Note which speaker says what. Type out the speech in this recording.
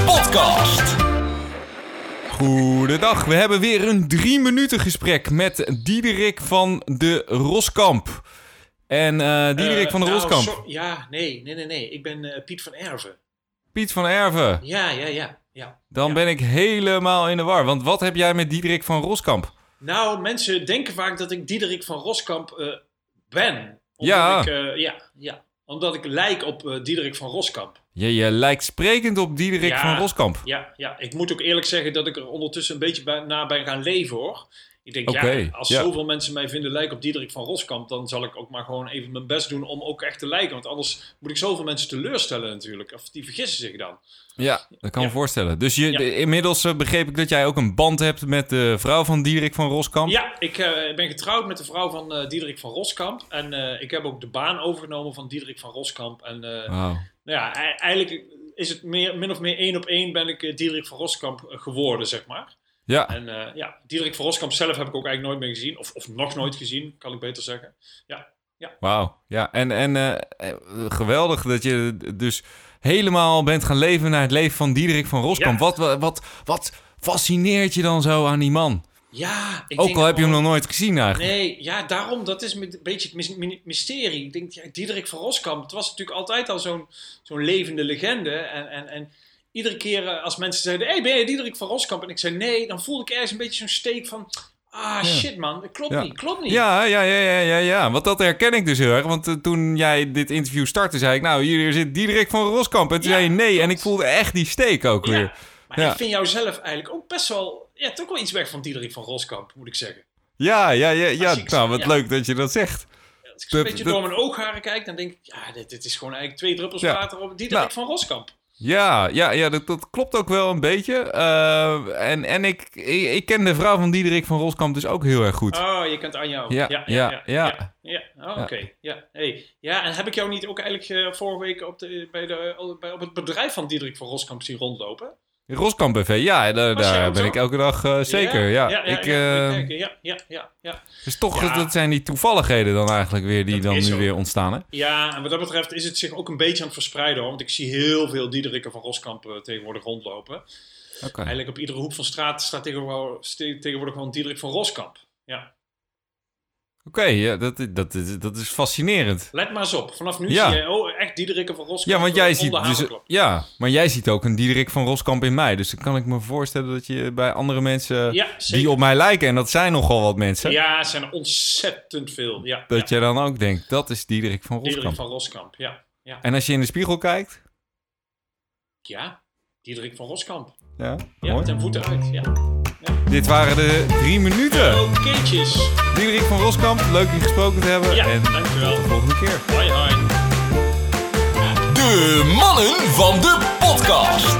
Speaker 1: Podcast.
Speaker 2: Goedendag, we hebben weer een drie minuten gesprek met Diederik van de Roskamp. En eh, Diederik
Speaker 3: Eh,
Speaker 2: van de
Speaker 3: nou,
Speaker 2: Roskamp,
Speaker 3: zo- ja, nee, nee, nee, nee. Ik ben eh, Piet van Erven.
Speaker 2: Piet van Erven,
Speaker 3: Ja, ja, ja, ja.
Speaker 2: dan ben ik helemaal in de war. Want wat heb jij met Diederik van Roskamp?
Speaker 3: Nou, mensen denken vaak dat ik Diederik van Roskamp eh, ben. Omdat
Speaker 2: Ja.
Speaker 3: Ik, eh, ja, ja. Omdat ik lijk op eh, Diederik van Roskamp.
Speaker 2: Je, je lijkt sprekend op Diederik
Speaker 3: Ja.
Speaker 2: van Roskamp.
Speaker 3: Ja, ja. Ik moet ook eerlijk zeggen dat ik er ondertussen een beetje bij, na ben gaan leven, hoor. Ik denk,
Speaker 2: Oké,
Speaker 3: ja, als
Speaker 2: ja.
Speaker 3: zoveel mensen mij vinden lijken op Diederik van Roskamp, dan zal ik ook maar gewoon even mijn best doen om ook echt te lijken. Want anders moet ik zoveel mensen teleurstellen natuurlijk. Of die vergissen zich dan.
Speaker 2: Ja, dat kan me
Speaker 3: Ja.
Speaker 2: voorstellen. Dus je,
Speaker 3: Ja.
Speaker 2: de- inmiddels eh, begreep ik dat jij ook een band hebt met de vrouw van Diederik van Roskamp.
Speaker 3: Ja, ik eh, ben getrouwd met de vrouw van eh, Diederik van Roskamp. En eh, ik heb ook de baan overgenomen van Diederik van Roskamp. En eh,
Speaker 2: Wauw.
Speaker 3: nou ja, ei- eigenlijk is het meer, min of meer één op één ben ik eh, Diederik van Roskamp eh, geworden, zeg maar.
Speaker 2: Ja,
Speaker 3: En eh, ja, Diederik van Roskamp zelf heb ik ook eigenlijk nooit meer gezien. Of, of nog nooit gezien, kan ik beter zeggen.
Speaker 2: wauw. Ja, en, en eh, eh, geweldig dat je dus helemaal bent gaan leven naar het leven van Diederik van Roskamp.
Speaker 3: Ja.
Speaker 2: Wat, wat, wat, wat fascineert je dan zo aan die man?
Speaker 3: Ja, ik
Speaker 2: Ook
Speaker 3: denk
Speaker 2: al heb je hem
Speaker 3: gewoon-
Speaker 2: nog nooit gezien eigenlijk.
Speaker 3: Nee, ja, daarom, dat is een beetje het mis- mi- mysterie. Ik denk, ja, Diederik van Roskamp, het was natuurlijk altijd al zo'n zo'n levende legende. En, en, en iedere keer eh, als mensen zeiden, hey, ben jij Diederik van Roskamp? En ik zei nee, dan voelde ik ergens een beetje zo'n steek van, ah, shit man, dat klopt
Speaker 2: Ja.
Speaker 3: niet, klopt niet.
Speaker 2: Ja, ja, ja, ja, ja, ja. Want dat herken ik dus heel erg. Want eh, toen jij dit interview startte, zei ik... Nou, hier zit Diederik van Roskamp. En toen
Speaker 3: Ja,
Speaker 2: zei je nee. En
Speaker 3: klopt.
Speaker 2: ik voelde echt die steek ook
Speaker 3: Ja,
Speaker 2: weer.
Speaker 3: Maar
Speaker 2: Ja.
Speaker 3: ik vind jou zelf eigenlijk ook best wel, ja, toch wel iets weg van Diederik van Roskamp, moet ik zeggen.
Speaker 2: Ja, ja, ja. ja,
Speaker 3: Precies,
Speaker 2: nou, wat
Speaker 3: ja.
Speaker 2: leuk dat je dat zegt.
Speaker 3: Als ik
Speaker 2: Dat-
Speaker 3: een beetje
Speaker 2: dat-
Speaker 3: door mijn oogharen kijk, dan denk ik, ja, dit, dit is gewoon eigenlijk twee druppels
Speaker 2: Ja.
Speaker 3: water op Diederik
Speaker 2: Nou.
Speaker 3: van Roskamp.
Speaker 2: Ja, ja, ja dat, dat klopt ook wel een beetje. Eh, en en ik, ik, ik ken de vrouw van Diederik van Roskamp dus ook heel erg goed.
Speaker 3: Oh, je kent Anja ook.
Speaker 2: Ja,
Speaker 3: Ja,
Speaker 2: ja,
Speaker 3: ja,
Speaker 2: ja.
Speaker 3: ja. ja. Oh, oké. Ja. Hey. ja, en heb ik jou niet ook eigenlijk eh, vorige week op, de, bij de, bij, op het bedrijf van Diederik van Roskamp zien rondlopen?
Speaker 2: Roskamp BV, ja, daar,
Speaker 3: Was jij
Speaker 2: daar
Speaker 3: ook
Speaker 2: ben
Speaker 3: zo?
Speaker 2: ik elke dag eh, zeker. Ja,
Speaker 3: ja,
Speaker 2: ik,
Speaker 3: ja,
Speaker 2: eh,
Speaker 3: ik merk, ja, ja, ja, ja.
Speaker 2: dus toch,
Speaker 3: Ja.
Speaker 2: dat zijn die toevalligheden dan eigenlijk weer die
Speaker 3: Dat
Speaker 2: dan
Speaker 3: is
Speaker 2: nu
Speaker 3: zo.
Speaker 2: weer ontstaan. Hè?
Speaker 3: Ja, en wat dat betreft is het zich ook een beetje aan het verspreiden hoor. Want ik zie heel veel Diederikken van Roskamp eh, tegenwoordig rondlopen.
Speaker 2: Oké.
Speaker 3: Eigenlijk op iedere hoek van straat staat tegenwoordig, ste- tegenwoordig gewoon Diederik van Roskamp. Ja.
Speaker 2: Oké, ja, dat, dat, is- dat is fascinerend.
Speaker 3: Let maar eens op. Vanaf nu
Speaker 2: Ja.
Speaker 3: zie je oh, echt Diederikken van Roskamp.
Speaker 2: Ja, want jij
Speaker 3: eh,
Speaker 2: ziet,
Speaker 3: onder
Speaker 2: dus,
Speaker 3: hamerklap.
Speaker 2: ja, maar jij ziet ook een Diederik van Roskamp in mij. Dus dan kan ik me voorstellen dat je bij andere mensen
Speaker 3: Ja, zeker.
Speaker 2: eh, die op mij lijken, en dat zijn nogal wat mensen,
Speaker 3: Ja, er zijn er ontzettend veel. Ja, ja.
Speaker 2: dat je dan ook denkt, dat is Diederik van Roskamp.
Speaker 3: Diederik van Roskamp, ja. Ja,
Speaker 2: En als je in de spiegel kijkt,
Speaker 3: ja. Diederik van Roskamp.
Speaker 2: ja,
Speaker 3: Ja,
Speaker 2: mooi.
Speaker 3: ten voeten uit. Ja.
Speaker 2: Dit waren de drie minuten.
Speaker 3: Okéetjes.
Speaker 2: Diederik van Roskamp, leuk je gesproken te hebben.
Speaker 3: Ja,
Speaker 2: en tot
Speaker 3: dankjewel.
Speaker 2: de volgende keer.
Speaker 3: Hoi, hoi.
Speaker 1: De mannen van de podcast.